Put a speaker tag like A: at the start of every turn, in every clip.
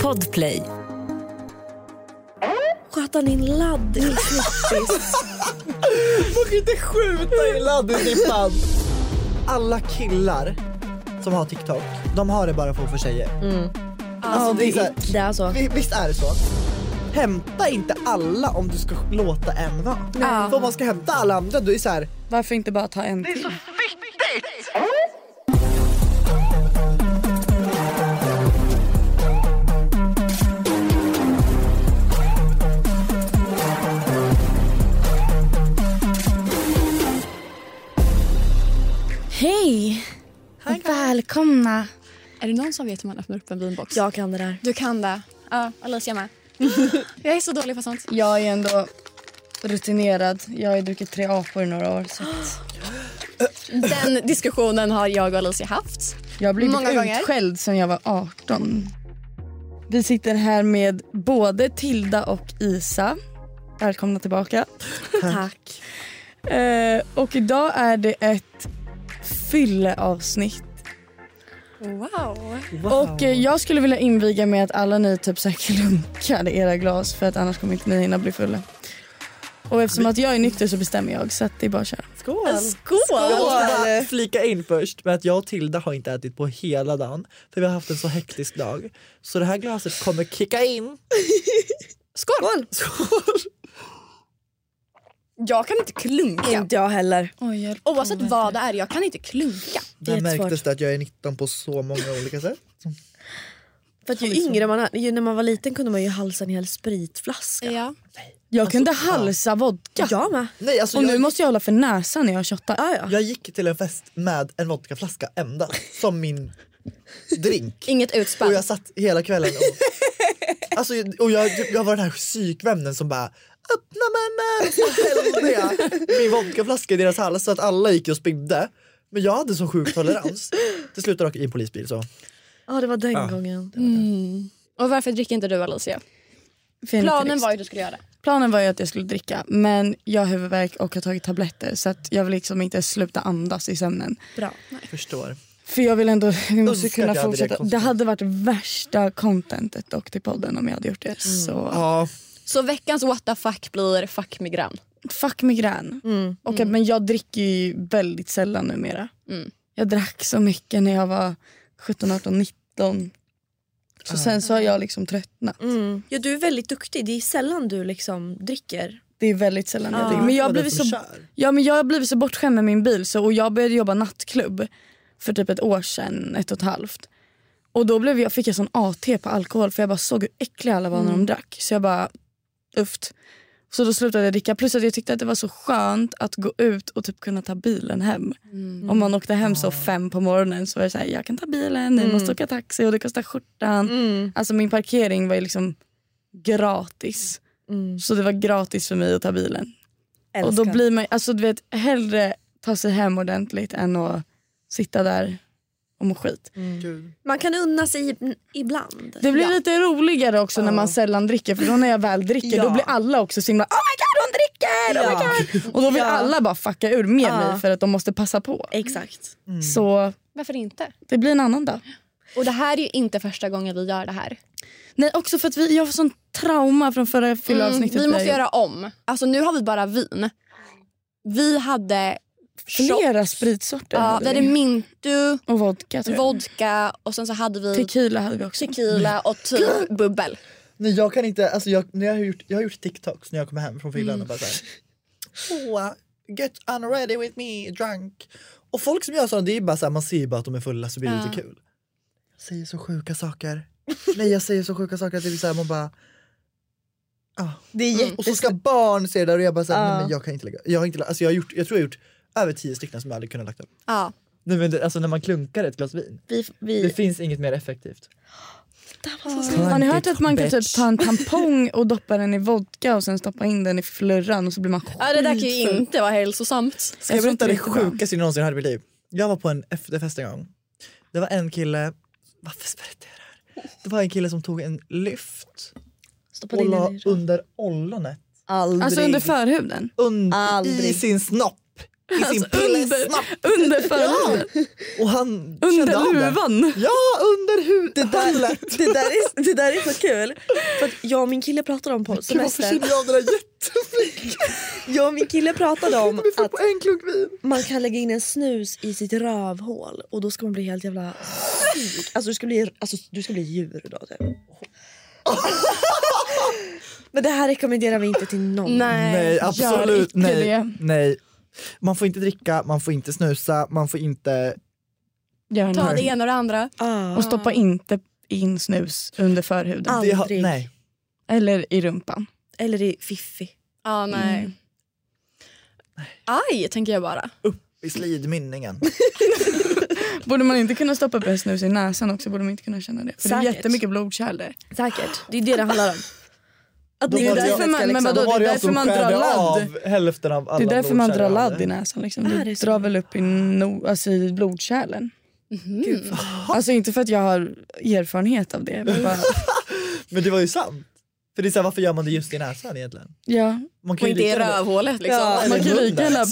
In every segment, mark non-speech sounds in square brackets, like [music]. A: Podplay. Sköt han in ladd i en smittis?
B: Man kan inte skjuta i laddnippan. Alla killar som har TikTok, de har det bara för att få tjejer.
A: Alltså,
B: det är så här-
A: Det är så.
B: Vi- Visst är det så? Hämta inte alla om du ska låta en vara. För om man ska hämta alla andra då är det så här,
C: Varför inte bara ta en till?
A: Hej!
C: Välkomna!
D: Är det någon som vet hur man öppnar upp en vinbox?
A: Jag kan det där.
D: Du kan det. Ja, Alicia med. jag är så dålig på sånt.
C: Jag är ändå rutinerad. Jag har ju druckit tre apor i några år. Så att
D: Den diskussionen har jag och Alicia haft.
C: jag har blivit
D: Många gånger.
C: utskälld sedan jag var 18. Vi sitter här med både Tilda och Isa. Välkomna tillbaka.
A: Tack.
C: Eh, och idag är det ett fylleavsnitt.
D: Wow.
C: Och eh, jag skulle vilja inviga med att alla ni typ så här [laughs] klunkar i era glas för att annars kommer inte ni hinna bli fulla. Och eftersom att jag är nykter så bestämmer jag så att det är bara att köra.
B: skål.
D: Skål!
B: Jag måste bara flika in först med att jag och Tilda har inte ätit på hela dagen för vi har haft en så hektisk dag. Så det här glaset kommer kicka in.
D: Skål!
B: Skål.
D: Jag kan inte klunka.
A: Inte jag heller.
C: Oj, hjälp.
D: Oavsett vad det är, jag kan inte klunka.
A: Det är
B: Där
A: jättesvårt.
B: märktes det att jag är 19 på så många olika sätt.
A: För att ju yngre man är, ju när man var liten kunde man ju halsa en hel spritflaska.
D: Ja.
C: Jag
B: Alltså,
C: kunde
B: ja.
C: halsa vodka.
A: Jag med.
B: Nej, alltså
C: Och nu
B: jag,
C: måste jag hålla för näsan när jag shottar.
A: Ja, ja.
B: jag gick till en fest med en vodkaflaska endast som min drink.
D: Inget
B: Och
D: utspänn.
B: jag satt hela kvällen och, alltså, och jag, jag var den här psykvännen som bara öppna munnen! Så hällde jag min vodkaflaska i deras hals så att alla gick och spydde. Men jag hade så sjuk tolerans. Det slutade dock i en polisbil så.
A: Ja, det var den gången.
D: Och varför dricker inte du Alicia?
C: För jag är
D: Planen
C: nykterist.
D: var ju att du skulle göra det.
C: Planen var ju att jag skulle dricka men jag har huvudvärk och har tagit tabletter så att jag vill liksom inte sluta andas i sömnen.
A: Bra.
B: Förstår.
C: För jag vill ändå [laughs] vi måste
B: Önskar
C: kunna
B: att jag hade det
C: fortsätta.
B: konstigt.
C: Det hade varit värsta contentet dock till podden om jag hade gjort det.
B: Mm.
C: Så
B: Ja,
D: Så veckans what the fuck blir fuck migrän.
C: fuck migrän.
B: Mm.
C: Och, att- Men jag dricker ju väldigt sällan numera.
D: Mm.
C: Jag drack så mycket när jag var 17, 18, 19. Så sen så har jag liksom tröttnat.
A: Mm. Ja, du är väldigt duktig. Det är sällan du liksom dricker.
C: Det är väldigt sällan jag
A: Ja.
C: dricker. Men jag har
B: var den
C: blivit
B: som
C: så
B: kör.
C: Ja men jag har blivit så bortskämd med min bil så, och jag började jobba nattklubb för typ ett år sedan, ett och ett halvt. Och då blev jag, fick jag sån AT på alkohol för jag bara såg hur äckliga alla var när de drack. Så jag bara, uft. Så då slutade jag dricka. Plus att jag tyckte att det var så skönt att gå ut och typ kunna ta bilen hem. Om man åkte hem så fem på morgonen så var det så här, jag kan ta bilen, ni måste åka taxi och det kostar skjortan. Alltså min parkering var ju liksom gratis. Så det var gratis för mig att ta bilen. Och då blir man, alltså du vet, hellre ta sig hem ordentligt än att sitta där och må skit.
D: Mm.
B: Gud.
A: Man kan unna sig ib- ibland.
C: Det blir lite roligare också när man sällan dricker för då när jag väl dricker då blir alla också så himla oh my god hon dricker! Oh my god! Och då vill alla bara fucka ur med mig för att de måste passa på.
A: Exakt.
D: Mm.
C: Så
D: Varför inte?
C: det blir en annan dag.
D: Och det här är ju inte första gången vi gör det här.
C: Nej också för att vi, jag har sån trauma från förra fylleavsnittet.
D: Mm, vi
C: vi
D: måste
C: har gjort.
D: göra om. Alltså nu har vi bara vin. Vi hade
C: flera spritsorter.
D: Ja,
C: hade Typ.
D: vi hade
C: vi.
D: mintu,
C: och vodka tror jag.
D: vodka och sen så hade vi
C: Tequila hade vi också.
D: tequila och typ bubbel.
B: Nej, jag kan inte, alltså jag, när jag, har gjort, jag har gjort TikToks när jag kommer hem från fyllan
A: Mm.
B: och bara såhär
A: [laughs]
B: oh, Get unready with me, drunk Och folk som gör sådana, det är bara såhär, man ser ju bara att de är fulla så blir det lite kul Jag säger så sjuka saker Nej jag säger så sjuka saker att det är såhär man bara ah.
A: Mm, Det är
B: Och så ska barn se det där och jag bara såhär, nej men jag kan inte lägga Jag har inte, la- alltså jag har gjort, jag tror jag har gjort över tio stycken som jag aldrig kunnat lagt upp
D: Ja.
B: Nej men det, alltså när man klunkar ett glas vin,
A: vi,
B: det
A: vi,
B: finns inget mer effektivt
C: Har ni hört
B: Tankigt,
C: att man kan
B: bitch.
C: typ ta en tampong och doppa den i vodka och sen stoppa in den i flurran och så blir man skitfull?
D: ja, det där kan ju inte vara hälsosamt.
B: Ska jag
C: tror inte
B: berätta det
C: det är jättebra.
B: sjukaste jag någonsin hade i mitt liv? Jag var på en efterfest en gång. Det var en kille, varför berättar jag det här? Det var en kille som tog en lyft
A: stoppade
B: och
A: in
B: la
A: den i
B: under ollonet.
A: Aldrig.
C: Alltså under förhuden?
B: Und, I
A: Aldrig.
B: sin snopp. i sin
C: Alltså, under-
B: pillesnapp.
C: Under förhuden.
B: Och han kände
C: Under
B: av det.
C: luvan.
B: Ja, under hudhålet.
A: [laughs] Det där, är, det där är så kul. För att jag och min kille pratade om på
B: Gud, Varför
A: semestern.
B: känner jag av det där jättemycket?
C: [laughs]
A: Jag och min kille pratade om
B: Vi får
A: att
B: på en klunk vin.
A: man kan lägga in en snus i sitt rövhål och då ska man bli helt jävla sjuk. Alltså du ska bli, alltså, du ska bli djur då typ. [laughs] Men det här rekommenderar vi inte till någon.
D: Nej.
B: Nej,
C: gör
B: absolut
C: icke
B: nej.
C: det.
B: nej. Man får inte dricka, man får inte snusa, man får inte...
C: Gör
D: Ta
C: nu.
D: det ena och det andra.
A: Ah.
C: Och stoppa inte in snus under förhuden.
A: Ah.
B: det har-
A: Aldrig.
B: nej.
D: Ah.
C: Eller i rumpan.
A: Eller i fiffi.
D: Ja, nej. Aj, tänker jag bara.
B: I slidmynningen.
C: Borde man inte kunna stoppa upp en snus i näsan också? Borde man inte kunna känna det? För det är
A: Säkert.
C: jättemycket blodkärl där.
A: Säkert. Det är det det handlar om. Att
B: Då
A: ni
B: var
A: inte
B: det-
A: ska
C: Men- men
A: liksom-
C: vadå?
B: Då var
C: det är
B: jag
C: därför
B: som
C: man drar
B: skärde
C: ladd.
B: alltså av hälften av alla
C: Det är därför man drar
B: blodkärl jag
C: ladd
B: hade.
C: i näsan. Liksom.
A: Ah, det
C: Du
A: är så.
C: drar väl upp i, no- alltså, i blodkärlen.
A: Gud, vad-
C: Alltså inte för att jag har erfarenhet av det. Men [laughs] bara,
B: Men det var ju sant. För det är så här, varför gör man det just i näsan egentligen?
C: ja.
B: Man kan
D: Och
B: ju
D: inte i
B: lika gärna-
D: rövhålet liksom.
A: Ja,
C: Man kan lika gärna... Men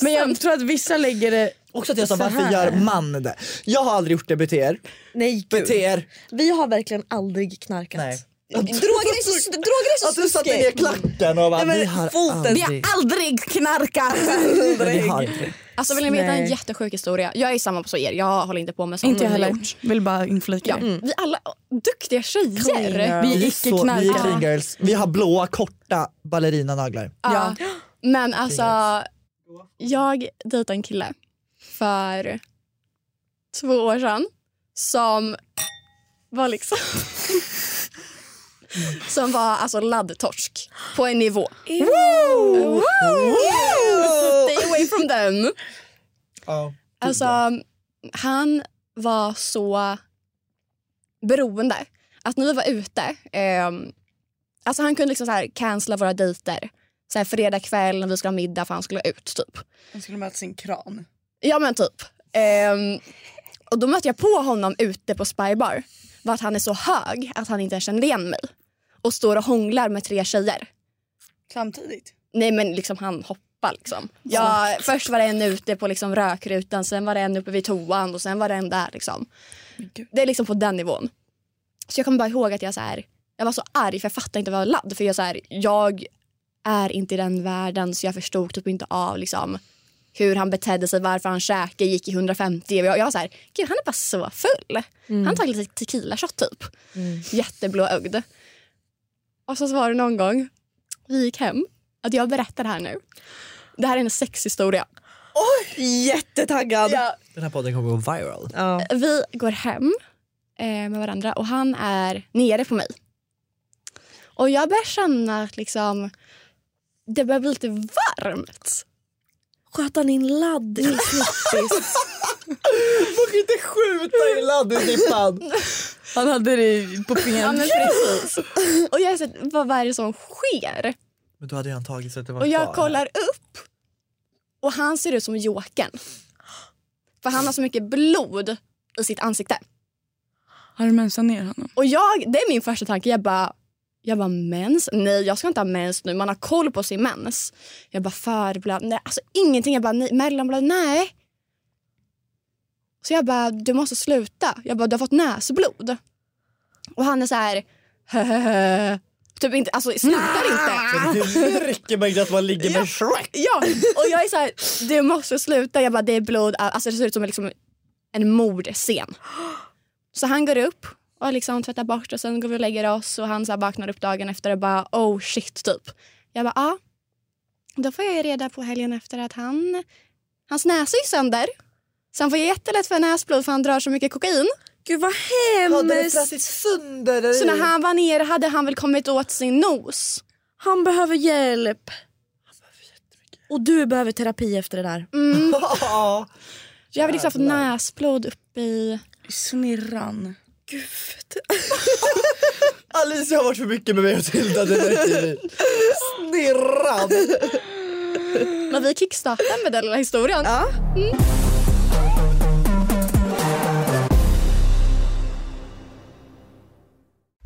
D: Men
C: jag tror att vissa lägger det...
B: Också att jag sa
C: Så
B: varför
C: här.
B: gör man det? Jag har aldrig gjort det, bete er.
A: Nej
B: Bete
A: gud.
B: er.
A: Vi har verkligen aldrig knarkat.
B: Nej.
A: Droger är så, droger är så
B: Att du satte ner
A: snuskigt.
B: klacken och bara,
A: Nej, men
B: vi har
A: foten.
B: aldrig.
D: Vi har aldrig knarkat!
B: Men vi har inte det.
D: alltså vill ni veta en
C: Nej.
D: jättesjuk historia? Jag är samma på er, jag håller inte på med sånt.
C: Inte jag
D: Men vi har
C: heller.
D: gjort-
C: Vill bara inflika
D: Ja,
C: det.
D: Vi alla, duktiga
A: Clean
D: tjejer.
A: girl.
C: Vi
B: Vi
C: är
B: är så- vi är
C: icke-knarkare.
B: clean girls. Vi har blåa korta ballerinanaglar.
D: Ja. Men alltså,
B: Clean
D: jag dejtade en kille för två år sedan som var liksom... som var alltså laddtorsk på en nivå. Woo! Stay away from them.
B: Ja.
D: Alltså, han var så beroende. Att när vi var ute... ehm, alltså han kunde liksom så här cancella våra dejter. Så här fredag kväll när vi skulle ha middag för han skulle ut. typ.
C: Han skulle möta sin kran.
D: Ja men typ. Ehm, och då mötte jag på honom ute på Spybar. Var att han är så hög att han inte ens kände igen mig. Och står och hånglar med tre tjejer.
C: Samtidigt.
D: Nej men liksom han hoppar liksom. Jag, först var det en ute på liksom rökrutan, sen var det en uppe vid toan och sen var det en där liksom.
C: gud.
D: Det är liksom på den nivån. Så jag kommer bara ihåg att jag så här, jag var så arg för jag fattade inte vad jag ladd för jag så här, jag är inte i den världen så jag förstod typ inte av liksom hur han betedde sig, varför han käkade, gick i 150. Jag, jag var så här, gud han är bara så full. Han har tagit lite tequila shot typ.
A: Mm.
D: Jätteblåögd. Och så var det någon gång, vi gick hem, att jag berättar det här nu. Det här är en sexhistoria.
A: Jättetaggad.
D: Ja.
B: Den här podden kommer gå viral.
A: Ja.
D: Vi går hem eh, med varandra och han är nere på mig. Och jag börjar känna att liksom, det börjar bli lite varmt.
A: Sköt han in ladd i [laughs] snuppis?
B: Man kan inte skjuta i ladd i [laughs] snippan.
C: Han hade det [laughs] på
D: Ja,
C: fingret.
D: [laughs] men precis. Och jag är så här, vad, vad är det som sker?
B: Men då hade ju han tagit så att det var
D: Och jag
B: kvar.
D: kollar upp och han ser ut som Jokern. För han har så mycket blod i sitt ansikte.
C: Har du mensat ner honom?
D: Och jag, det är min första tanke. Jag bara, jag bara mens? Nej, jag ska inte ha mens nu. Man har koll på sin mens. Jag bara förblöd. Nej, alltså ingenting. Jag bara nej, mellanblöd. Nej. Så jag bara, du måste sluta. Jag bara, du har fått näsblod. Och han är så här, [laughs] "Höhöhö." typ inte, alltså slutar inte.
B: Men Du märker mig att man ligger med Shrek.
D: Ja, och jag är så här, du måste sluta. Jag bara, det är blod. Alltså det ser ut som liksom en mordscen. Så han går upp och liksom tvättar bort och sen går vi och lägger oss och han så här vaknar upp dagen efter och bara oh shit typ. Jag bara ja. Då får jag ju reda på helgen efter att han, hans näsa är sönder. Så han får ju jättelätt för näsblod för han drar så mycket kokain.
A: Gud vad
B: Hade det
A: hemskt.
B: plötsligt sönder
D: Så när han var nere hade han väl kommit åt sin nos.
A: Han behöver hjälp. Och du behöver terapi efter det där.
D: Mm.
B: [laughs] Ja.
D: Jag har liksom fått
B: Jävlar.
D: näsblod upp i...
C: Snirran.
B: Alicia har varit för mycket med mig och Tilda. Det räcker nu. Snirran.
D: Men vi kickstartade med den lilla historien.
A: Ja.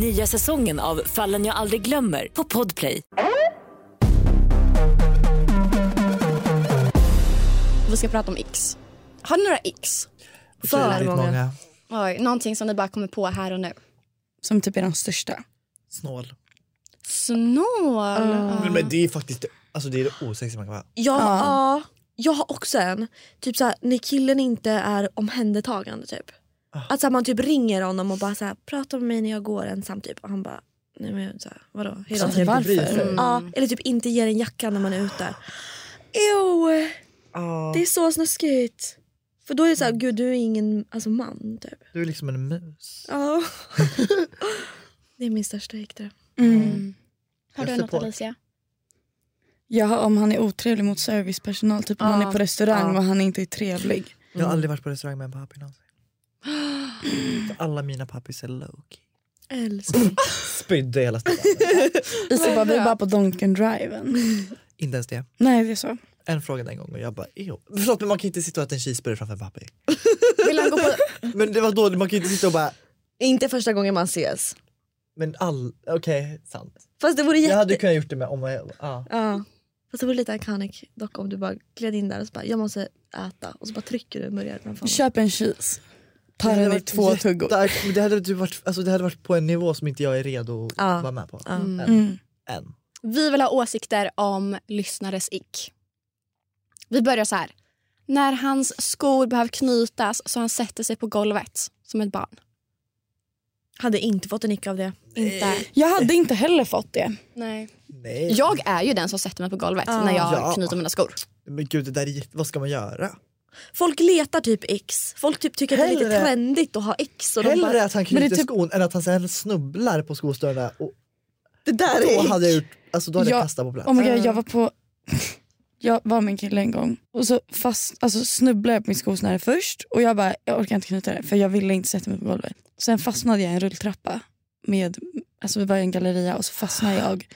E: Nya säsongen av Fallen jag aldrig glömmer på Podplay.
D: Vi ska prata om x. Har ni några x?
A: För
B: Väldigt
A: många.
B: många.
D: Oj, någonting som ni bara kommer på här och nu.
C: Som typ är den största.
B: Snål.
D: Snål.
B: Men, men det är faktiskt det, alltså det, är det osexiga man kan vara.
A: Ja, ja, jag har också en. Typ så här, när killen inte är omhändertagande typ. Att så här, man typ ringer honom och bara så här, prata med mig när jag går ensam typ. Och han bara, nej men så här, vadå? Hela
C: Alltså,
A: tiden.
C: varför?
B: bryr sig.
A: Ja, eller typ inte ger en jacka när man är ute. Ew, det är så snuskigt. För då är det så här, gud du är ingen alltså, man typ.
B: Du är liksom en mus.
A: [laughs] Ja. det är min största häktare.
C: Mm.
D: Har du
B: Jag
D: något
B: support.
D: Alicia?
C: Ja, om han är otrevlig mot servicepersonal. Typ om
D: Ja.
C: han är på restaurang
D: Ja.
C: och han inte är [laughs] trevlig.
B: Jag har aldrig varit på restaurang med en pappi någonsin. För Alla mina pappis är low-key.
A: Älskling.
B: Spydde hela tiden.
C: Isa bara, vi är bara på Donken Driven.
B: Inte ens det.
C: Nej, det är så.
B: En fråga den gången och jag bara jo. Förlåt men man kan inte sitta och äta en cheeseburgare framför en pappi.
D: Vill han gå på...
B: Men det var då man kan inte sitta och bara
A: inte första gången man ses.
B: men all, okej sant.
A: Fast det vore jätte...
B: Jag hade kunnat gjort det med om jag, ja.
A: Ja. Fast det vore lite iconic dock om du bara gled in där och så bara jag måste äta och så bara trycker du burgaren framför honom.
C: Köp en cheese. Ta
B: Det hade
C: den i
B: varit
C: två tuggor.
B: jättearg- men Det hade, typ varit, alltså det hade varit på en nivå som inte jag är redo att
A: Ja.
B: vara med på.
A: Ja.
B: Än.
C: Mm.
B: Än.
D: Vi vill ha åsikter om lyssnares ick. Vi börjar så här. När hans skor behöver knytas så han sätter sig på golvet som ett barn.
A: Hade inte fått en nick av det. Eh.
D: Inte.
C: Jag hade inte heller fått det.
D: Nej.
B: Nej.
D: Jag är ju den som sätter mig på golvet
A: Ja.
D: när jag
B: Ja.
D: knyter mina skor.
B: Men gud det där är jätte, vad ska man göra?
A: Folk letar typ X. Folk typ tycker att det är lite
B: Hellre-
A: trendigt att ha X. Och de
B: Hellre
A: bara,
B: att han
C: Men det
B: knyter
C: är typ-
B: skon än att han sen snubblar på skostörna och
A: det där
B: Då
A: är
B: hade jag gjort, alltså då hade jag
C: Ja,
B: kastat på plats.
C: Oh my God, jag var på... [laughs] Jag var med en kille en gång och så fast, alltså snubblade jag på min skosnöre först och jag bara jag orkar inte knyta det för jag ville inte sätta mig på golvet. Sen fastnade jag i en rulltrappa. Med, alltså vi var i en galleria och så fastnade jag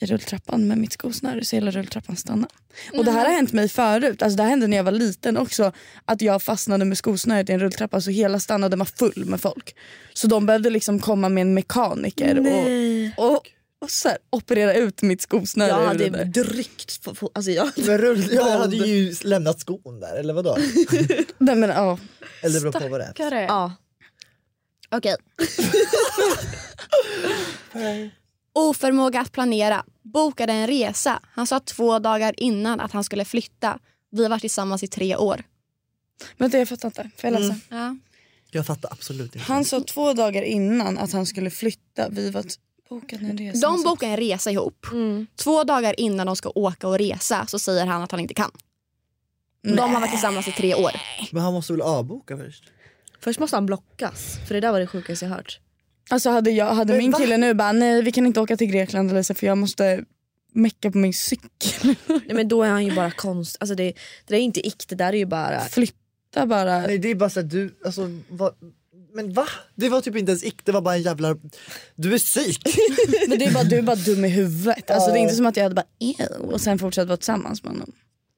C: i rulltrappan med mitt skosnöre så hela rulltrappan stannade. Och det här har hänt mig förut, alltså det här hände när jag var liten också. Att jag fastnade med skosnöret i en rulltrappa så hela stannade var full med folk. Så de behövde liksom komma med en mekaniker och
A: Nej.
C: och, och så här, operera ut mitt skosnöre
A: Jag
C: ur
A: hade
C: det där.
A: dryckt fo- fo- alltså jag,
B: Men rull, jag hade ju lämnat skon där, eller vadå?
C: Nej men ja.
B: Eller beror på vad det är.
A: ja.
D: Okej. [laughs] Oförmåga att planera. Bokade en resa. Han sa två dagar innan att han skulle flytta. Vi har varit tillsammans i tre år.
C: Vänta jag fattar inte, får jag läsa?
D: Ja.
B: Jag fattar absolut inte.
C: Han sa två dagar innan att han skulle flytta, vi var t- bokade en resa.
D: De bokar en resa ihop. Två dagar innan de ska åka och resa så säger han att han inte kan. De har varit tillsammans i tre år.
B: Men han måste väl avboka först?
A: Först måste han blockas. För det där var det sjukaste jag hört.
C: Alltså hade, jag, hade
B: Men
C: min
B: va?
C: kille nu bara nej vi kan inte åka till Grekland Lisa för jag måste mecka på min cykel.
A: Nej, men då är han ju bara konst. Alltså det, det där är inte ick, det där är ju [laughs]
C: Äh.
A: bara...
C: Flytta bara.
B: Nej det är bara så att du, alltså vad, men va? Det var typ inte ens ick, det var bara en jävla, du är [laughs] psyk!
C: Men det är bara, du är bara dum i huvudet. Alltså, det är inte som att jag hade bara ew och sen fortsatt vara tillsammans med honom.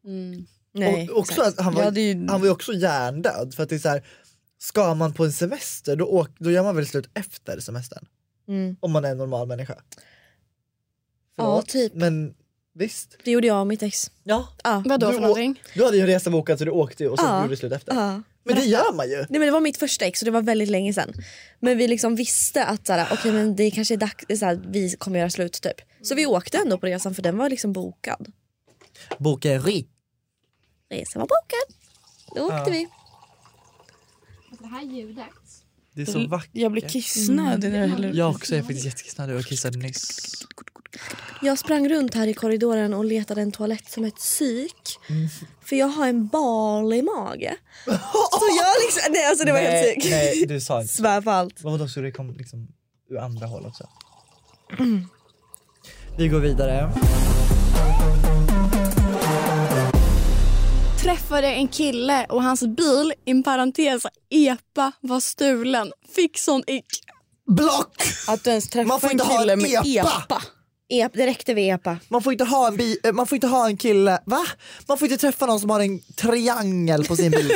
C: Mm.
A: Nej.
B: och, också, att han,
C: Jag
B: var,
C: hade ju-
B: han var ju också hjärndöd för att det är så här, ska man på en semester då, åk, då gör man väl slut efter semestern?
A: Mm.
B: Om man är en normal människa.
A: Ja, typ.
B: Men visst.
A: Det gjorde jag och mitt ex.
B: Ja.
A: Ja.
D: Vadå
B: Du
D: för
B: å-
D: någonting?
B: Du hade ju en resa bokad så du åkte ju och sen
A: Ja.
B: gjorde du slut efter.
A: Ja.
B: Men det gör man ju!
A: Nej, men det var mitt första ex och det var väldigt länge sedan. Men vi liksom visste att såhär, okay, men det kanske är dags, det är såhär, vi kommer göra slut. typ. Så vi åkte ändå på resan för den var liksom bokad.
B: Boka en rit.
A: Resan var bokad. Då åkte vi.
B: Det är så vackert.
C: Jag blir kissnödig när jag häller upp.
B: Jag också, jag är faktiskt jättekissnödig och jag kissade nyss.
A: Jag sprang runt här i korridoren och letade en toalett som ett psyk. För jag har en bal i mage. Så jag liksom, nej alltså det var helt
B: nej,
A: sjukt.
B: nej, du [laughs] sa inte.
A: Svär på allt.
B: Vad Vadå, så det kom liksom ur andra håll [clears throat] också? Vi går vidare.
D: träffade en kille och hans bil, in parentes, epa, var stulen. Fick sån ick.
B: Block!
C: Att du ens
B: Man får
C: träffar en
B: inte ha
C: kille
B: en
C: med
B: epa.
C: epa.
A: Ep, det räckte vid epa.
B: Man får, inte ha en bi- eh, man får inte ha en kille, va? Man får inte träffa någon som har en triangel på sin
C: [laughs]
B: bil.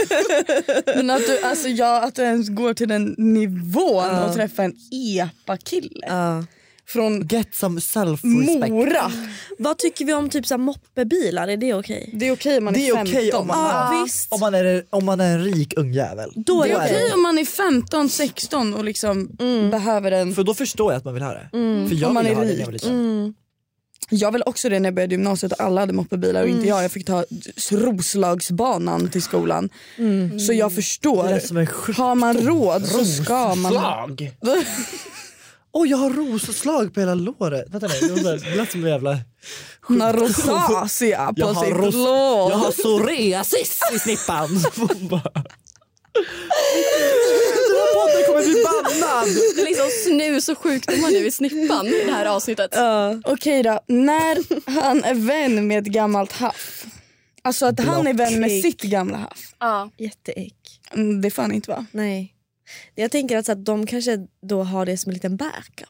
C: Men att du, alltså, ja, att du ens går till den nivån och träffar en epa-kille. Från
B: Get some self-respect.
C: Mora.
A: Vad tycker vi om typ så här, moppebilar? Är det okej?
C: Det är okej om man är,
B: Det är okej
C: 15.
B: om, man-
A: Ja,
B: ja.
A: visst.
B: om, man är- om man är en rik ung jävel.
A: Då är
C: det
A: det
C: är
A: okej.
C: okej om man är 15, 16 och liksom behöver en...
B: För då förstår jag att man vill ha det. För jag
C: Mm. Om man
B: ville
C: är
B: ha det när
C: rik. Mm.
B: jag var liten.
C: Jag ville också det när jag började gymnasiet och alla hade moppebilar och inte jag. Jag fick ta Roslagsbanan till skolan. Så jag
B: Det
C: förstår.
B: är som en sjuk-
C: Har man råd så ska man...
B: Oj, jag har rosslag på hela låret. Vänta nej, det var så här- det lät som en jävla...
C: Hon har rosacea
B: Jag
C: på
B: har,
C: sitt
B: ros-
C: lår.
B: jag har psoriasis i
C: [laughs]
B: snippan. Hon bara- Den här podden kommer bli bannad!
D: Det är liksom snus och sjukdomar nu i snippan i det här avsnittet.
C: Okej då, när han är vän med ett gammalt haff. Alltså att han är vän med sitt gamla haff.
D: Ja.
A: Jätteäck.
C: Mm, Det är fan inte va?
A: Nej. Jag tänker att, så att de kanske då har det som en liten backup.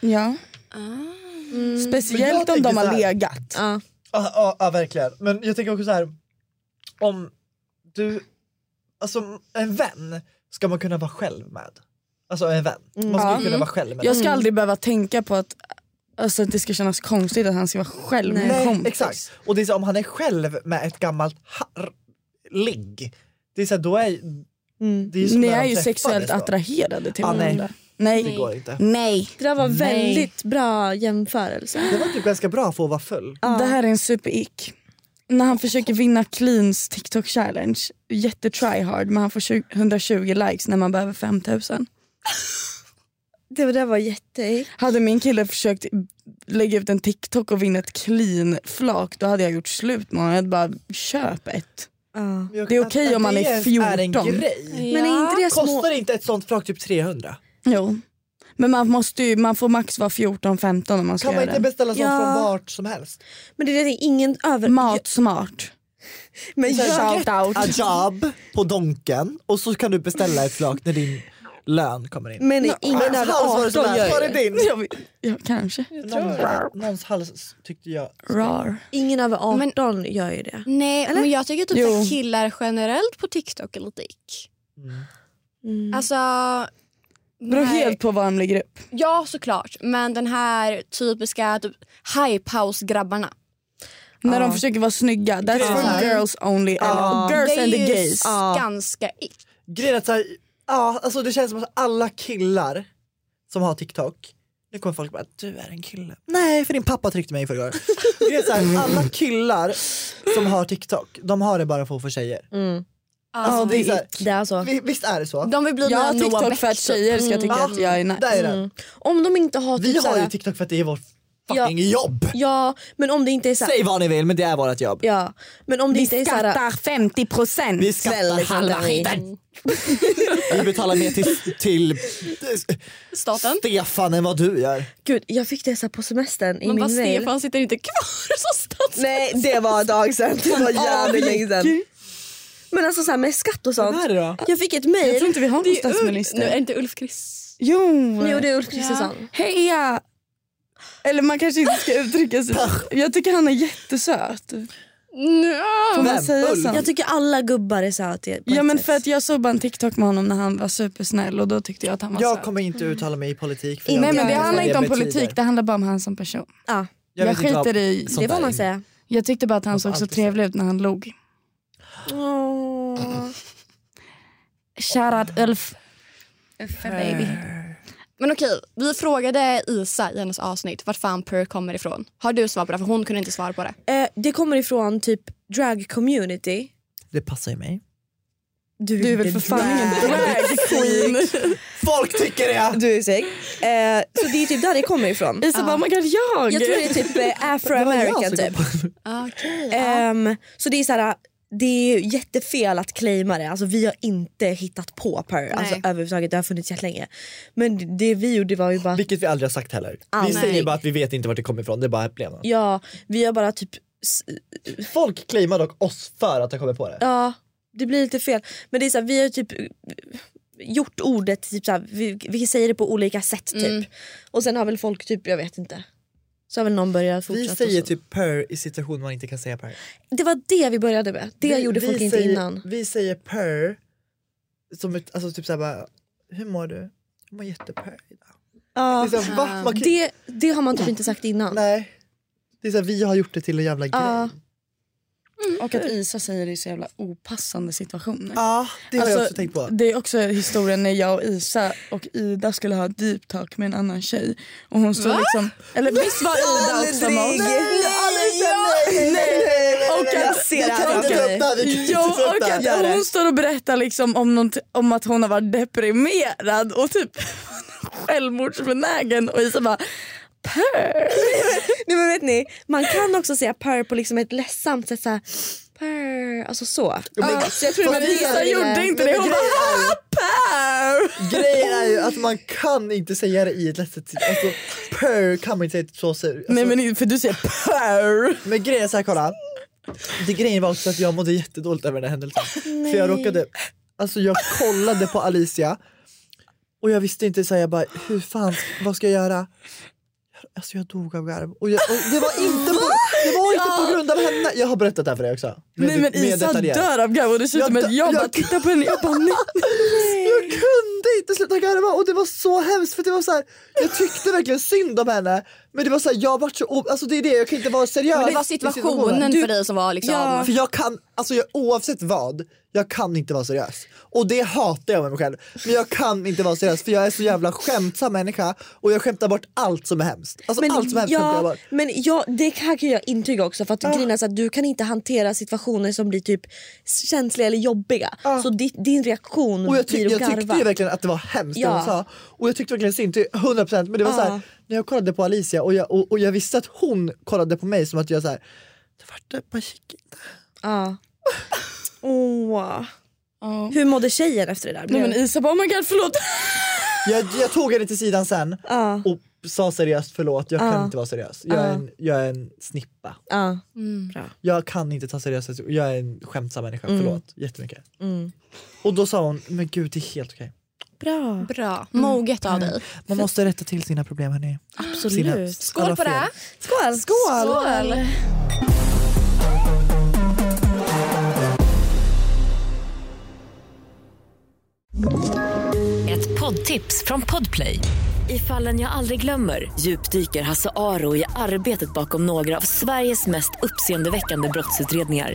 C: Ja.
B: Men jag
C: Speciellt om
B: tänker
C: de
B: så
C: har
B: här.
C: legat.
A: Ja.
B: Ja, ja, ja, verkligen. Men jag tänker också så här. Om du... Alltså en vän ska man kunna vara själv med. Alltså en vän. Man ska
C: Mm. Ja.
B: ju kunna vara själv med.
C: Jag ska aldrig behöva tänka på att, alltså, att det ska kännas konstigt att han ska vara själv med en
B: Nej,
C: kompis.
B: exakt. Och det är så, här, om han är själv med ett gammalt har- ligg. Det är så här, då är... Det är så
C: Mm. Ni
B: när
C: är
B: de
C: ju
B: träffades
C: sexuellt
B: då.
C: attraherade till
B: Ja, nej.
C: varandra.
B: Det
C: Nej.
B: går inte.
C: Nej.
A: Det där var väldigt bra jämförelse.
B: Det var typ ganska bra för att vara full.
C: Det här är en superick. När han försöker vinna Cleans TikTok challenge, jätte tryhard men han får 20 120 likes när man behöver 5000.
A: Det var- det var jätteäck.
C: Hade min kille försökt lägga ut en TikTok och vinna ett clean flak då hade jag gjort slut med honom. Jag hade bara köp ett.
A: Ja.
B: Men jag-
C: Det är okej
B: att-
C: om
B: att
C: man
B: det
C: är
B: ens är en
C: 14.
B: grej.
A: Men är inte det små...
B: Kostar inte ett sånt flak typ 300?
C: Jo. Men man, måste ju, man får max vara 14-15 om man ska
B: Kan man
C: göra
B: inte
C: det.
B: beställa sånt
A: Ja.
B: från vart som helst?
A: Men det är det, ingen över...
C: Matsmart.
A: Men jag...
C: Shout out.
B: A job på Donken och så kan du beställa ett flak när din lön kommer in.
A: Men ingen
B: Någons hals var
A: över
B: det som
A: 18
B: lät. Var
A: gör
B: det
A: det.
B: din?
C: Jag vet- Ja, kanske.
B: Någons, någons hals tyckte jag.
C: Rar.
A: Ingen över
D: Men-
A: 18 gör ju det.
D: Nej, men jag tycker typ
C: Jo.
D: att killar generellt på TikTok är lite ick. Alltså...
C: Beror
D: nej.
C: Mm. helt på vad han lägger upp.
D: Ja, såklart. Men den här typiska typ, hypehouse-grabbarna.
C: När de försöker vara snygga. That's for girls only. Eller
D: Det
C: girls
D: är
C: and the
D: ju
C: gays.
D: ganska ick.
B: Grejen är att så här, ja, alltså det känns som att alla killar som har TikTok nu kommer folk bara du är en kille. Nej för din pappa tryckte mig i förrgår. Det är så här, alla killar som har TikTok de har det bara för att få tjejer. Alltså, det är så här,
A: Mm. Det är så.
B: vi- visst är det så?
D: De vill bli
C: Jag har
D: nya Noah
C: TikTok
D: Beck.
C: för att tjejer ska tycka att jag är nice.
B: Där är det.
A: Mm. Om de inte har...
B: Vi
A: Mm. typ
B: har ju
A: såhär-
B: TikTok för att det är vårt fucking jobb.
A: Ja, men om det inte är så
B: Säg vad ni vill men det är vårt jobb.
A: Ja, men om det
C: Vi
A: inte är så här...
C: skattar 50 procent.
B: Vi skattar
A: [laughs]
B: halva skiten. Vi betalar mer till, till
D: Mm. Staten.
B: Stefan än vad du gör.
A: Gud, jag fick det så här på semestern i
D: Man bara,
A: min mail.
D: Stefan sitter inte kvar [laughs] som statsminister.
A: Nej, det var ett tag sedan. Det var jävligt länge sedan. Men alltså så här, med skatt och sånt.
B: Vad är det då?
A: Jag fick ett
C: Jag tror
A: mejl.
C: inte vi har
D: Det
C: någon
D: är ju Ulf- Nu är det
C: statsminister.
D: inte Ulf Chris.
C: Jo.
A: Jo, det är Ulf Kristersson.
C: Heja! Eller man kanske inte ska uttrycka sig Jag tycker han är jättesöt. Får man
B: Vem?
C: säga
B: Ulf?
C: så?
A: Jag tycker alla gubbar är söta. på ett
C: Ja men
A: sätt.
C: för att jag såg bara en TikTok med honom när han var supersnäll och då tyckte jag att han var
B: Jag
C: söt.
B: kommer inte uttala mig i politik. För jag
C: Nej
B: vet
C: men det
B: vad
C: handlar inte om
B: betyder.
C: politik, det handlar bara om han som person.
A: Ja,
C: Jag,
B: vet inte vad
C: skiter i...
B: sånt
A: det får
B: där
A: man
B: är.
A: säga.
C: Jag tyckte bara att han
B: Man får
C: såg så
B: alltid säga.
C: trevlig ut när han log.
A: Åh.
C: Shoutout Ulf. Uffe baby.
D: Eh. Men okej, vi frågade Isa i hennes avsnitt vart fan Purr kommer ifrån. Har du svar på det? För hon kunde inte svara på det.
A: Eh, det kommer ifrån typ drag community.
B: Det passar ju mig.
C: Du är väl
A: inte
C: för fan ingen
A: drag.
C: drag queen.
B: Folk tycker det!
A: Du är säker. Eh, så det är typ där det kommer ifrån.
C: Isa bara oh my god jag!
A: Jag tror det är typ eh, afro-american typ.
D: Okej.
A: Ehm, så det är så här, det är ju jättefel att claima det. Alltså, vi har inte hittat på Pearl alltså,
D: Nej.
A: överhuvudtaget. Det har funnits jättelänge. Men det vi gjorde var ju
B: [laughs]
A: bara...
C: Ah,
B: Vilket vi aldrig har sagt heller. Vi
A: Aldrig.
B: säger bara att vi vet inte vart det kommer ifrån. Det bara blev något.
A: Ja, vi har bara typ s-
B: Folk claimar dock oss för att ha kommit på det.
A: Ja, det blir lite fel. Men det är så här, vi har ju typ eh, gjort ordet, typ så här, vi, vi säger det på olika sätt typ.
D: Mm.
A: Och sen har väl folk typ, jag vet inte. Så har väl någon börjat
B: vi
A: fortsätta.
B: säger
A: och så.
B: typ per i situationer man inte kan säga per.
A: Det var det vi började med. Det
B: vi,
A: gjorde
B: vi
A: folk inte
B: säger,
A: innan.
B: Vi säger per som ett, alltså typ såhär bara, hur mår du? Jag mår jättepör idag.
A: Ja.
B: Det är
C: Ah,
B: såhär, va? Man kan,
A: Det, det har man typ inte sagt innan.
B: Nej. Det är såhär, vi har gjort det till en jävla grej.
C: Ah.
A: Ja.
C: Och att Isa säger det i så jävla opassande situationer.
B: Ja, Ah, det har jag
C: Alltså,
B: också tänkt på.
C: Det är också historien när jag och Isa och Ida skulle ha deep talk med en annan tjej. Och hon stod liksom... Eller visst var Ida också med oss? Och att,
A: ser det här
C: och
A: framför mig.
B: öppna, vi kan inte
C: Jo,
B: öppna.
C: och
B: Gör
C: att
B: det.
C: hon står och berättar liksom om, nånt, om att hon har varit deprimerad och typ [laughs] självmordsbenägen och Isa bara Purr.
A: Nej, men vet ni, man kan också säga purr på liksom ett ledsamt sätt. Såhär, purr, alltså så.
B: men-
A: så jag tror
B: fast
A: det var
C: Isa
A: det vi
C: gjorde
A: ville.
C: inte det. Hon bara "Ah, purr.
B: Grejen är ju att man kan inte säga det i ett lättsamt Alltså per kan man inte säga så seriöst. Alltså,
C: Nej men för du säger purr.
B: Men grejen är såhär, kolla. Det grejen var också att jag mådde jättedåligt över den här händelsen. För jag råkade, alltså jag kollade på Alicia och jag visste inte såhär, jag bara hur fan, vad ska jag göra? Alltså jag dog av garv. Och, jag, och det var inte, på, det var inte på grund av henne. Jag har berättat det här för dig också. Mer
C: Nej men
B: det- mer
C: Isa
B: detaljerat.
C: dör av garv och det
B: Jag
C: slutar med
B: dö-
C: att jag bara
B: jag-
C: tittar på henne jag bara nej.
B: Jag kunde inte sluta garva och det var så hemskt för det var så här, jag tyckte verkligen synd om henne men det var så här, jag vart så o- alltså det är det jag kan inte vara seriös.
D: Men det var
B: i situationen.
D: situationen för dig som var liksom...
A: Ja.
B: För jag kan, alltså jag, oavsett vad, jag kan inte vara seriös. Och det hatar jag med mig själv. Men jag kan inte vara seriös för jag är så jävla skämtsam människa och jag skämtar bort allt som är hemskt. Alltså allt som är hemskt skämtar jag
A: ja,
B: bort.
A: men ja, det här kan jag intyga också. För att
B: Ah.
A: grejen är så att du kan inte hantera situationer som blir typ känsliga eller jobbiga. Så ditt, din reaktion
B: Ah. Och jag, tyck,
A: blir
B: jag
A: att
B: tyckte
A: garva.
B: ju verkligen att det var hemskt det
A: Ja.
B: hon sa. Och jag tyckte verkligen synd till 100% men det var
A: Ja.
B: så här, när jag kollade på Alicia och jag, och, och jag visste att hon kollade på mig som att jag så här, det vart ett par chicken. [laughs]
A: Ja. Ah. Åh. Hur mådde tjejen efter det där?
C: Nej
A: Blev-
D: Mm.
C: men Isa bara oh my god förlåt.
B: Jag, jag tog henne till sidan sen
A: Ja,
B: och sa seriöst förlåt jag kan
A: Ja.
B: inte vara seriös. Jag, är
A: Ja.
B: en, jag är en snippa.
A: ja.
B: Jag kan inte ta seriösa situationer. Jag är en skämtsam människa, förlåt jättemycket.
A: Mm.
B: Och då sa hon, men gud det är helt okej.
A: Bra.
D: Bra.
C: "Mm.
D: Moget av dig.
B: Man måste rätta till sina problem hörni. Sina,
A: Absolut.
D: Skål
B: alla
D: på
B: fel.
D: det.
A: Skål.
D: Skål.
E: Ett poddtips från Podplay. I fallen jag aldrig glömmer djupdyker Hasse Aro i arbetet bakom några av Sveriges mest uppseendeväckande brottsutredningar.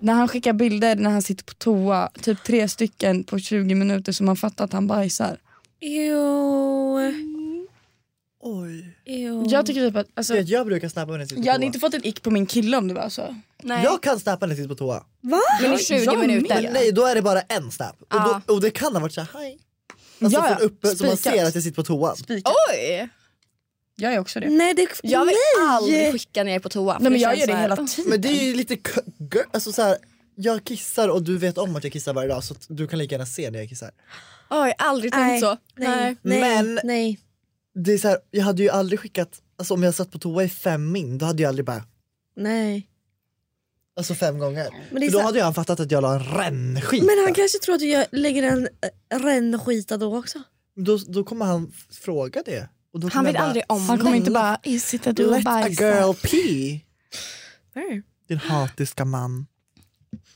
C: När han skickar bilder när han sitter på toa, typ tre stycken på 20 minuter så man fattar att han bajsar.
A: Ew.
B: Oj.
A: Ew.
C: Jag tycker typ att, alltså,
B: Vet, jag brukar snappa när jag sitter på
C: jag hade
B: toa.
C: inte fått ett ick på min kille om det var så.
D: Nej.
B: Jag kan snappa när jag sitter på toa.
D: men i 20
C: jag
D: minuter.
B: Men nej, då är det bara en snap.
D: Ja.
B: Och, då, och det kan ha varit så här, hej. Alltså
C: Ja, ja.
B: från uppe så man
C: Spikat.
B: ser att jag sitter på toan.
C: Spikat.
D: Oj!
C: Jag är också det.
A: Nej, det...
D: Jag vill
A: Nej.
D: aldrig skicka när jag är på toa. för
C: Nej, men jag
D: känns
C: gör det
D: så här-
C: hela tiden.
B: Men det är ju lite k- gör- alltså så här, jag kissar och du vet om att jag kissar varje dag så att du kan lika gärna se när jag kissar.
D: Oj, aldrig
A: Nej.
D: tänkt så.
A: Nej.
D: Nej.
A: Nej.
B: Men-
A: Nej.
B: Det är så här, jag hade ju aldrig skickat, alltså om jag satt på toa i fem min, då hade jag aldrig bara,
A: Nej.
B: alltså fem gånger.
A: Men det är
B: För då
A: så-
B: hade ju han fattat att jag la en rännskita.
A: Men han kanske tror att jag lägger en äh, rännskita då också.
B: då, då kommer han f- fråga det. Och då
D: Han
B: kommer
D: vet
B: jag bara,
D: aldrig om
C: Han
D: det.
C: kommer inte bara, sitter du och
B: Let a
C: bajsar?
B: girl pee. Din hatiska man.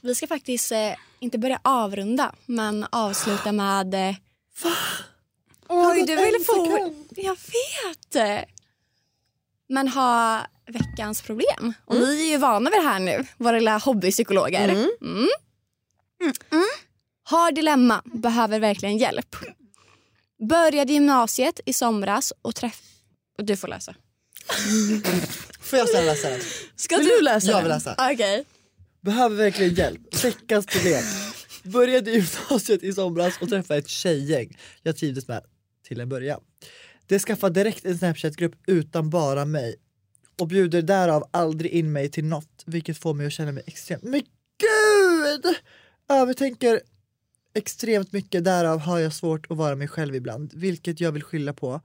D: Vi ska faktiskt eh, inte börja avrunda, men avsluta med... Eh, Oj, du ville få... Jag vet! Men ha veckans problem. Och
C: Mm.
D: vi är ju vana vid det här nu, våra lilla hobbypsykologer. Mm. Mm.
C: Mm.
D: Har dilemma, behöver verkligen hjälp. Började gymnasiet i somras och träff... Och du får läsa.
B: Får jag ställa läsa den?
D: Ska
C: Vill du läsa
B: Jag
C: den?
B: vill läsa.
D: Okej.
B: Behöver verkligen hjälp. Veckans problem. Började i gymnasiet i somras och träffade ett tjejgäng jag trivdes med till en början. Det skaffade direkt en Snapchat-grupp utan bara mig och bjuder därav aldrig in mig till något vilket får mig att känna mig extremt... Men gud! Övertänker extremt mycket, därav har jag svårt att vara mig själv ibland vilket jag vill skylla på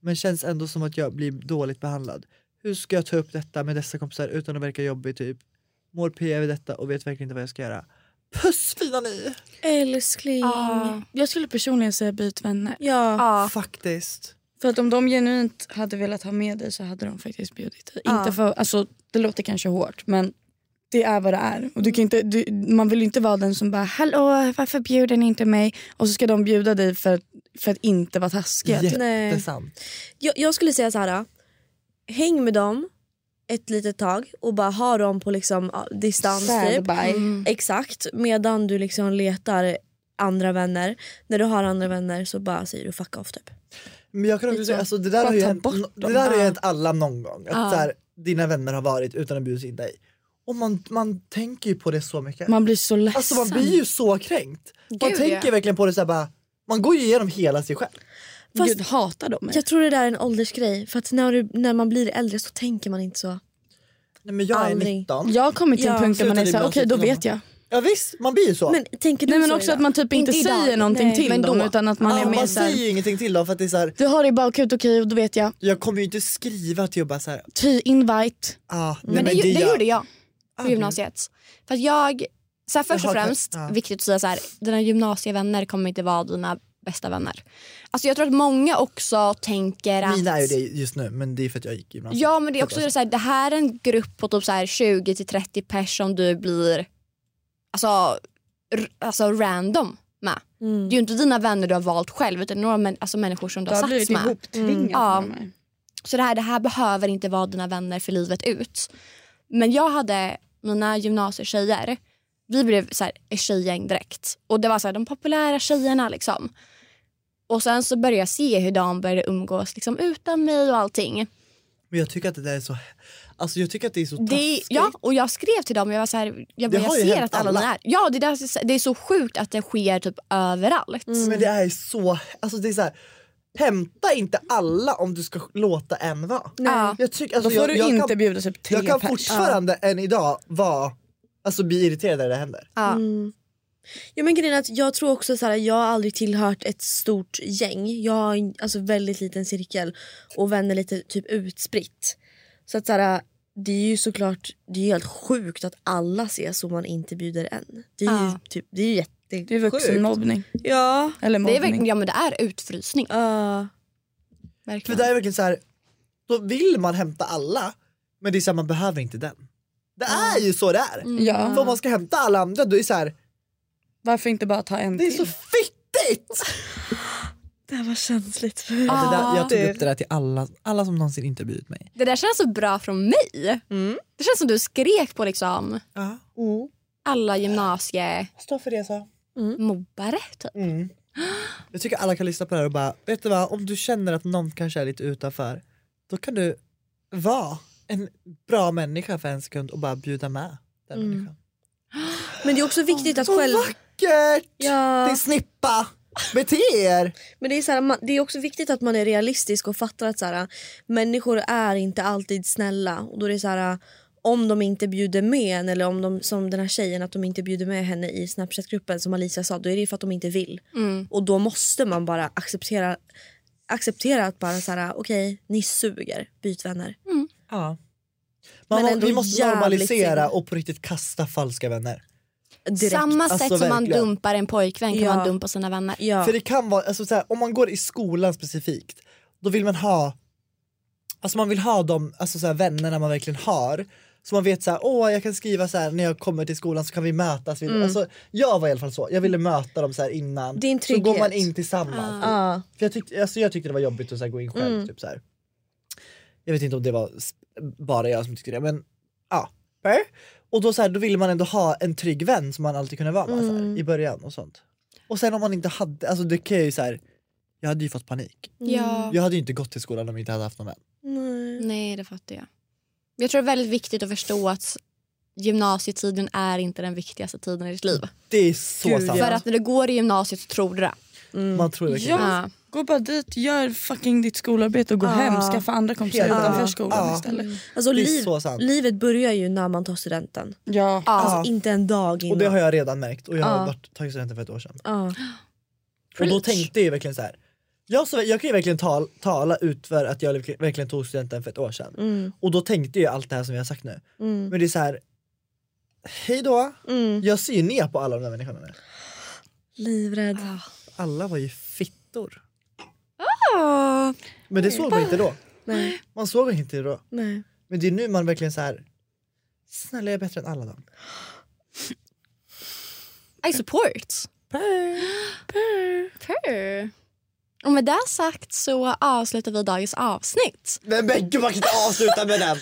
B: men känns ändå som att jag blir dåligt behandlad. Hur ska jag ta upp detta med dessa kompisar utan att verka jobbig typ? Mår P över detta och vet verkligen inte vad jag ska göra. Puss fina ni!
A: Älskling.
C: Jag skulle personligen säga byt vänner.
A: Ja.
D: Ja.
B: Faktiskt.
C: För att om de genuint hade velat ha med dig så hade de faktiskt bjudit dig.
A: Ja.
C: Inte för, alltså, det låter kanske hårt men det är vad det är. Och du kan inte, du, man vill ju inte vara den som bara “hallå varför bjuder ni inte mig?” och så ska de bjuda dig för, för att inte vara taskiga. typ.
A: Nej.
B: Jättesant.
A: Jag, jag skulle säga så här. Häng med dem ett litet tag och bara ha dem på liksom ja, distans. Typ.
C: Standby.
A: Exakt, medan du liksom letar andra vänner. När du har andra vänner så bara säger du fuck off typ.
B: Men jag kan också
A: Lite
B: säga,
A: så.
B: alltså, det där
C: Bara
B: har ju
C: ta
B: hänt,
C: bort
B: no- det
C: dem.
B: där har ju
C: Ja.
B: hänt alla någon gång. Att
D: Ja.
B: så här, dina vänner har varit utan att bjuda in dig. Och man, man tänker ju på det så mycket.
C: Man blir så ledsen.
B: alltså man blir ju så kränkt. man
D: ja.
B: tänker verkligen på det så här, bara, man går ju igenom hela sig själv.
A: Fast-
C: Gud hatar de mig.
A: Jag tror det där är en åldersgrej för att när, du, när man blir äldre så tänker man inte så.
B: Nej, men jag är
A: Aldrig.
B: 19.
C: Jag har kommit till en
A: Ja.
C: punkt där man är
B: Slutade
C: såhär,
B: ibland
C: okej då
B: sitta hemma.
C: vet jag.
B: Ja visst, man blir ju så.
A: Men tänker du
C: Nej men
A: så
C: också
A: idag?
C: att man typ inte,
D: Inte idag.
C: säger någonting
D: Nej,
C: till
D: men
C: dem
D: då.
C: utan att man
B: Ah, man,
C: är
B: ja,
C: mer
B: man
C: såhär,
B: säger ju ingenting till dem för att det är så här,
C: du har det i bakhuvudet, okej då vet jag.
B: jag kommer ju inte skriva till och bara så här,
C: Ty invite.
B: ah, nej,
D: Men det, ju- det
B: gör-
D: gjorde jag
B: Ah,
D: på
B: gud.
D: gymnasiet. För att jag, så här, först och
B: Jaha,
D: främst,
B: ja.
D: viktigt att säga så här, dina gymnasievänner kommer inte vara dina bästa vänner. Alltså jag tror att många också tänker att...
B: Mina är ju det just nu, men det är för att jag gick
C: Alltså,
B: gymnasiet.
D: Ja men det är
B: Så
D: också
B: att-
D: så här, det här är en grupp på typ så här 20 till 30 pers som du blir alltså, r- alltså random med.
A: Mm.
D: Det är ju inte dina vänner du har valt själv utan några män, alltså människor som du
C: Du
D: har
C: har
D: satts
C: blivit
D: med. Mm.
C: ihoptvingad
D: Ja.
C: med mig.
D: Så det här, det här behöver inte vara dina vänner för livet ut. Men jag hade mina gymnasietjejer. Vi blev så här, ett tjejgäng direkt. Och det var så här, de populära tjejerna liksom. Och sen så började jag se hur de började umgås liksom, utan mig och allting.
B: Men jag tycker att det där är så, alltså jag tycker att det är så
D: Det,
B: taskigt.
D: ja, och jag skrev till dem. Jag var så här, jag,
B: Det
D: bara, jag
B: har ju
D: ser
B: hänt
D: att alla,
B: alla.
D: ni är. Ja, det, där, det är så sjukt att det sker typ överallt.
B: Mm, Men det är så, alltså det är så här, hämta inte alla om du ska låta en vara.
D: Ja.
B: Jag tycker, alltså
C: Då får
B: jag,
C: du
B: jag
C: inte
B: kan,
C: bjuda typ tre
B: Jag kan
C: pers.
B: fortfarande än idag vara, alltså bli irriterad när det händer.
D: Ja.
A: Mm. Ja, men grejen är att jag tror också så här, jag har aldrig tillhört ett stort gäng. Jag har en- alltså, väldigt liten cirkel och vänner lite typ utspritt. Så att så här, det är ju såklart det är ju helt sjukt att alla ses och man inte bjuder en. Det är ju
D: Ja.
A: typ, det är ju jätte...
C: Det är vuxenmobbning.
A: Ja.
C: Eller
D: Det, är,
C: mobbning.
D: verkligen- ja, men det är utfrysning.
A: Uh,
B: För
D: Verkligen.
B: det är verkligen så här, då vill man hämta alla men det är så här, man behöver inte den. Det är ju så det är.
C: Ja.
B: För om man ska hämta alla andra då är det så här,
C: Varför inte bara ta en
B: det är så
C: till?
B: fittigt!
A: det här var känsligt.
D: Ja, det där- jag
A: tog upp
B: det där till alla, alla som någonsin inte bjudit mig.
D: Det där känns så bra från mig.
A: Mm.
D: Det känns som du skrek på liksom
B: Ja.
D: alla gymnasiemobbare.
B: Stå för det så.
D: Typ.
B: Mm. Jag tycker alla kan lyssna på det här och bara, vet du vad, om du känner att någon kanske är lite utanför, då kan du vara en bra människa för en sekund och bara bjuda med den
A: Mm.
B: människan.
A: Men det är också viktigt att
B: Så
A: själv...
B: vackert!
A: Ja.
B: Din snippa! Bete er!
A: Men det är, så här, man, det är också viktigt att man är realistisk och fattar att så här, människor är inte alltid snälla. Och då är det så här, om de inte bjuder med en eller om de, som den här tjejen att de inte bjuder med henne i Snapchat-gruppen som Alicia sa, då är det ju för att de inte vill.
D: Mm.
A: Och då måste man bara acceptera, acceptera att bara så här, okej, ni suger, byt vänner.
B: Ja. Man,
A: Men
B: må-
A: ändå
B: vi måste
A: jävligt
B: normalisera
A: synd.
B: och på riktigt kasta falska vänner.
A: Direkt.
D: Samma sätt
B: Alltså,
D: som man
B: verkligen.
D: dumpar en pojkvän kan
A: Ja.
D: man dumpa sina vänner.
A: Ja.
B: För det kan vara, alltså, så här, om man går i skolan specifikt, då vill man ha Alltså man vill ha de alltså, så här, vännerna man verkligen har. Så man vet så här, åh jag kan skriva så här när jag kommer till skolan så kan vi mötas.
A: Mm.
B: Vi- Alltså, jag var i alla fall så, jag ville möta dem så här innan.
A: Det är en
B: så går man
A: trygghet. Ah.
B: in tillsammans.
A: Ja.
B: För jag, tyckte, alltså, jag tyckte det var jobbigt att så här, gå in själv. Typ, så här. Jag vet inte om det var s- bara jag som tyckte det men ja. Per. Och då, så här, då ville man ändå ha en trygg vän som man alltid kunde vara med så här, i början och sånt. Och sen om man inte hade, alltså det kan jag ju så här. Jag hade ju fått panik.
D: Ja.
B: Jag hade ju inte gått till skolan om jag inte hade haft någon vän.
A: Mm. Nej.
D: Nej, det fattar jag. Jag tror det är väldigt viktigt att förstå att gymnasietiden är inte den viktigaste tiden i ditt liv.
B: Det är så
C: Gud,
B: sant.
C: ja.
D: För att när du går i gymnasiet så tror du det.
B: Mm. Man tror det.
C: Ja. Gå bara dit, gör fucking ditt skolarbete och gå hem. Skaffa andra kompisar
B: Helt
C: utanför
B: sant.
C: skolan
B: Ja.
C: istället.
A: Alltså,
B: Det är
A: liv,
B: så sant.
A: livet börjar ju när man tar studenten.
C: Ja.
A: Alltså inte en dag innan.
B: Och det har jag redan märkt och jag har varit, tagit studenten för ett år sedan.
A: Ja.
B: Och då tänkte jag ju verkligen så här. Jag, så, jag kan ju verkligen tal, tala ut för att jag verkligen- verkligen tog studenten för ett år sedan.
A: Mm.
B: Och då tänkte jag allt det här som jag har sagt nu.
A: Mm.
B: Men det är så här. Hej då!
A: Mm.
B: Jag ser ju ner på alla de där människorna nu.
A: Livrädd.
B: Alla var ju fittor.
C: Ah.
B: Men det såg man inte då.
A: Nej,
B: Man såg inte då.
A: nej.
B: Men det är nu man verkligen så här. Snälla jag är bättre än alla dem.
D: I support. Purr. Och med det sagt så avslutar vi dagens avsnitt.
B: Men, men gud man kan inte avsluta med den!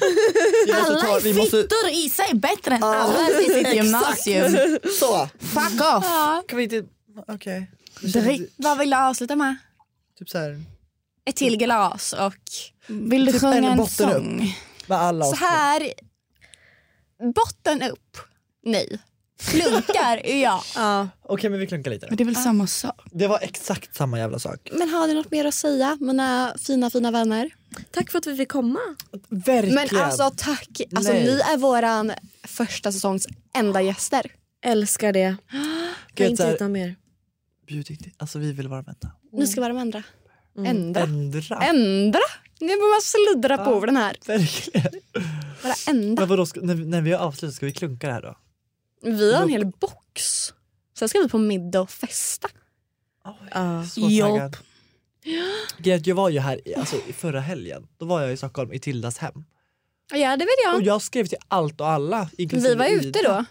B: Vi måste ta, vi måste,
F: Fittor i sig bättre än alla i
D: [laughs]
F: sitt gymnasium.
B: så!
F: Fuck off!
B: Kan vi inte... Okej.
F: Drick.
D: Vad vill du avsluta med?
B: Typ så här.
D: Ett till glas och
C: Vill du
B: Typ en
C: sjunga en
B: botten upp.
C: sång?
B: Med alla
D: så
B: oss.
D: här botten upp. Nej. Klunkar [laughs] är jag.
B: Okej men vi klunkar lite då.
C: Men det är väl samma sak?
B: Det var exakt samma jävla sak.
D: Men har ni något mer att säga mina fina fina vänner?
A: Tack för att vi fick komma.
B: Verkligen.
D: Men alltså tack. Alltså,
B: Nej.
D: ni är våran första säsongs enda gäster.
A: Älskar det. Kan
B: Gud,
A: inte
B: så här-
A: hitta mer.
B: Bjud inte- alltså vi vill vara med.
D: Ni ska vara de andra. Mm. Ändra.
B: Ändra.
D: Ändra? Nu börjar man sluddra på orden här.
B: Verkligen.
D: Bara ändra.
B: Men vadå, ska, när, när vi har avslutat ska vi klunka det här då?
D: Vi har en hel box. Sen ska vi på middag och festa.
A: Ja.
B: Så
C: Jopp.
B: taggad. Grejen är att Jag var ju här i, alltså, i förra helgen. Då var jag i Stockholm i Tildas hem.
D: Ja, det vet
B: Och
D: jag.
B: jag skrev till allt och alla. inklusive
D: Vi var ute
B: Ida.
D: då.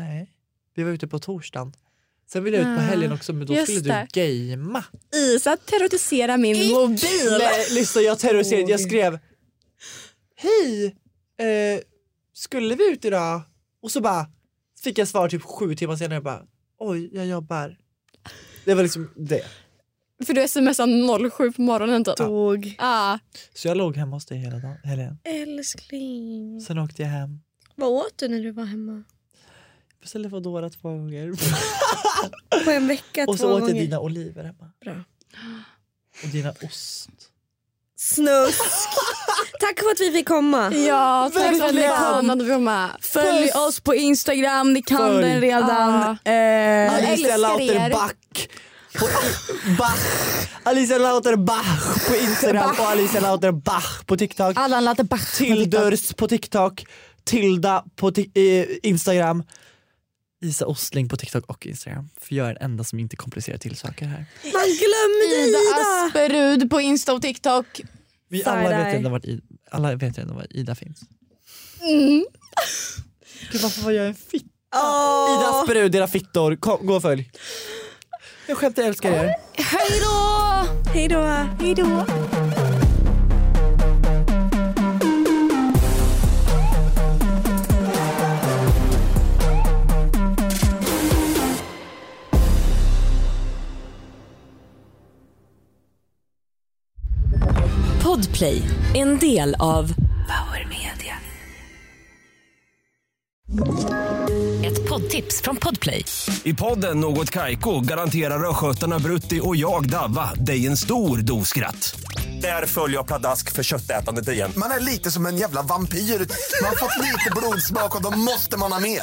B: Nej, vi var ute på torsdagen. Sen ville jag ut på helgen också men då
D: just
B: skulle
D: det.
B: du gamea.
D: Isa terroriserar min mobil.
B: Nej, lyssna jag terroriserade. Jag skrev Hej! Eh, skulle vi ut idag? Och så bara fick jag svar typ sju timmar senare. Jag bara oj, jag jobbar. Det var liksom det.
D: För du smsade 07 på morgonen typ. Ja.
A: Dog.
D: Ah.
B: Så jag låg hemma hos dig hela dagen, helgen.
A: Älskling.
B: Sen åkte jag hem.
A: Vad åt du när du var hemma?
B: Beställde Foodora två gånger.
A: På en vecka
B: Och
A: två
B: så åt jag
A: gånger.
B: dina oliver hemma.
A: Bra.
B: Och dina ost.
A: [laughs] Snusk. Tack för att vi fick komma.
D: Ja, tack för att ni
C: Verkligen.
D: kom. Att vi var med.
C: Följ oss på Instagram, ni kan
B: Följ.
C: den redan. Eh,
D: Jag
B: Alicia
D: älskar
B: Lauterbach. På, Bach. Alicia Lauterbach på Instagram och Alicia Lauterbach på TikTok.
C: Allan Lauterbach.
B: Tildurs på TikTok. Tilda på ti- eh, Instagram. Isa Ostling på TikTok och Instagram. För jag är den enda som inte komplicerar till saker här.
A: Man glömde
C: Ida
A: Ida.
C: Asperud på Insta och TikTok.
B: Vi alla
A: Side-eye.
B: vet, redan vart I- alla vet redan var Ida finns. Gud, varför var jag en fitta? Idas brud, era fittor. Kom, gå och följ. Jag skämtar, jag älskar er.
A: Hej då. Hej då.
E: Podplay, en del av Power Media. Ett poddtips från Podplay.
G: I podden Något Kaiko garanterar östgötarna Brutti och jag, Davva, dig en stor dos skratt. Där följer jag pladask för köttätandet igen.
H: Man är lite som en jävla vampyr. Man har fått lite blodsmak och då måste man ha mer.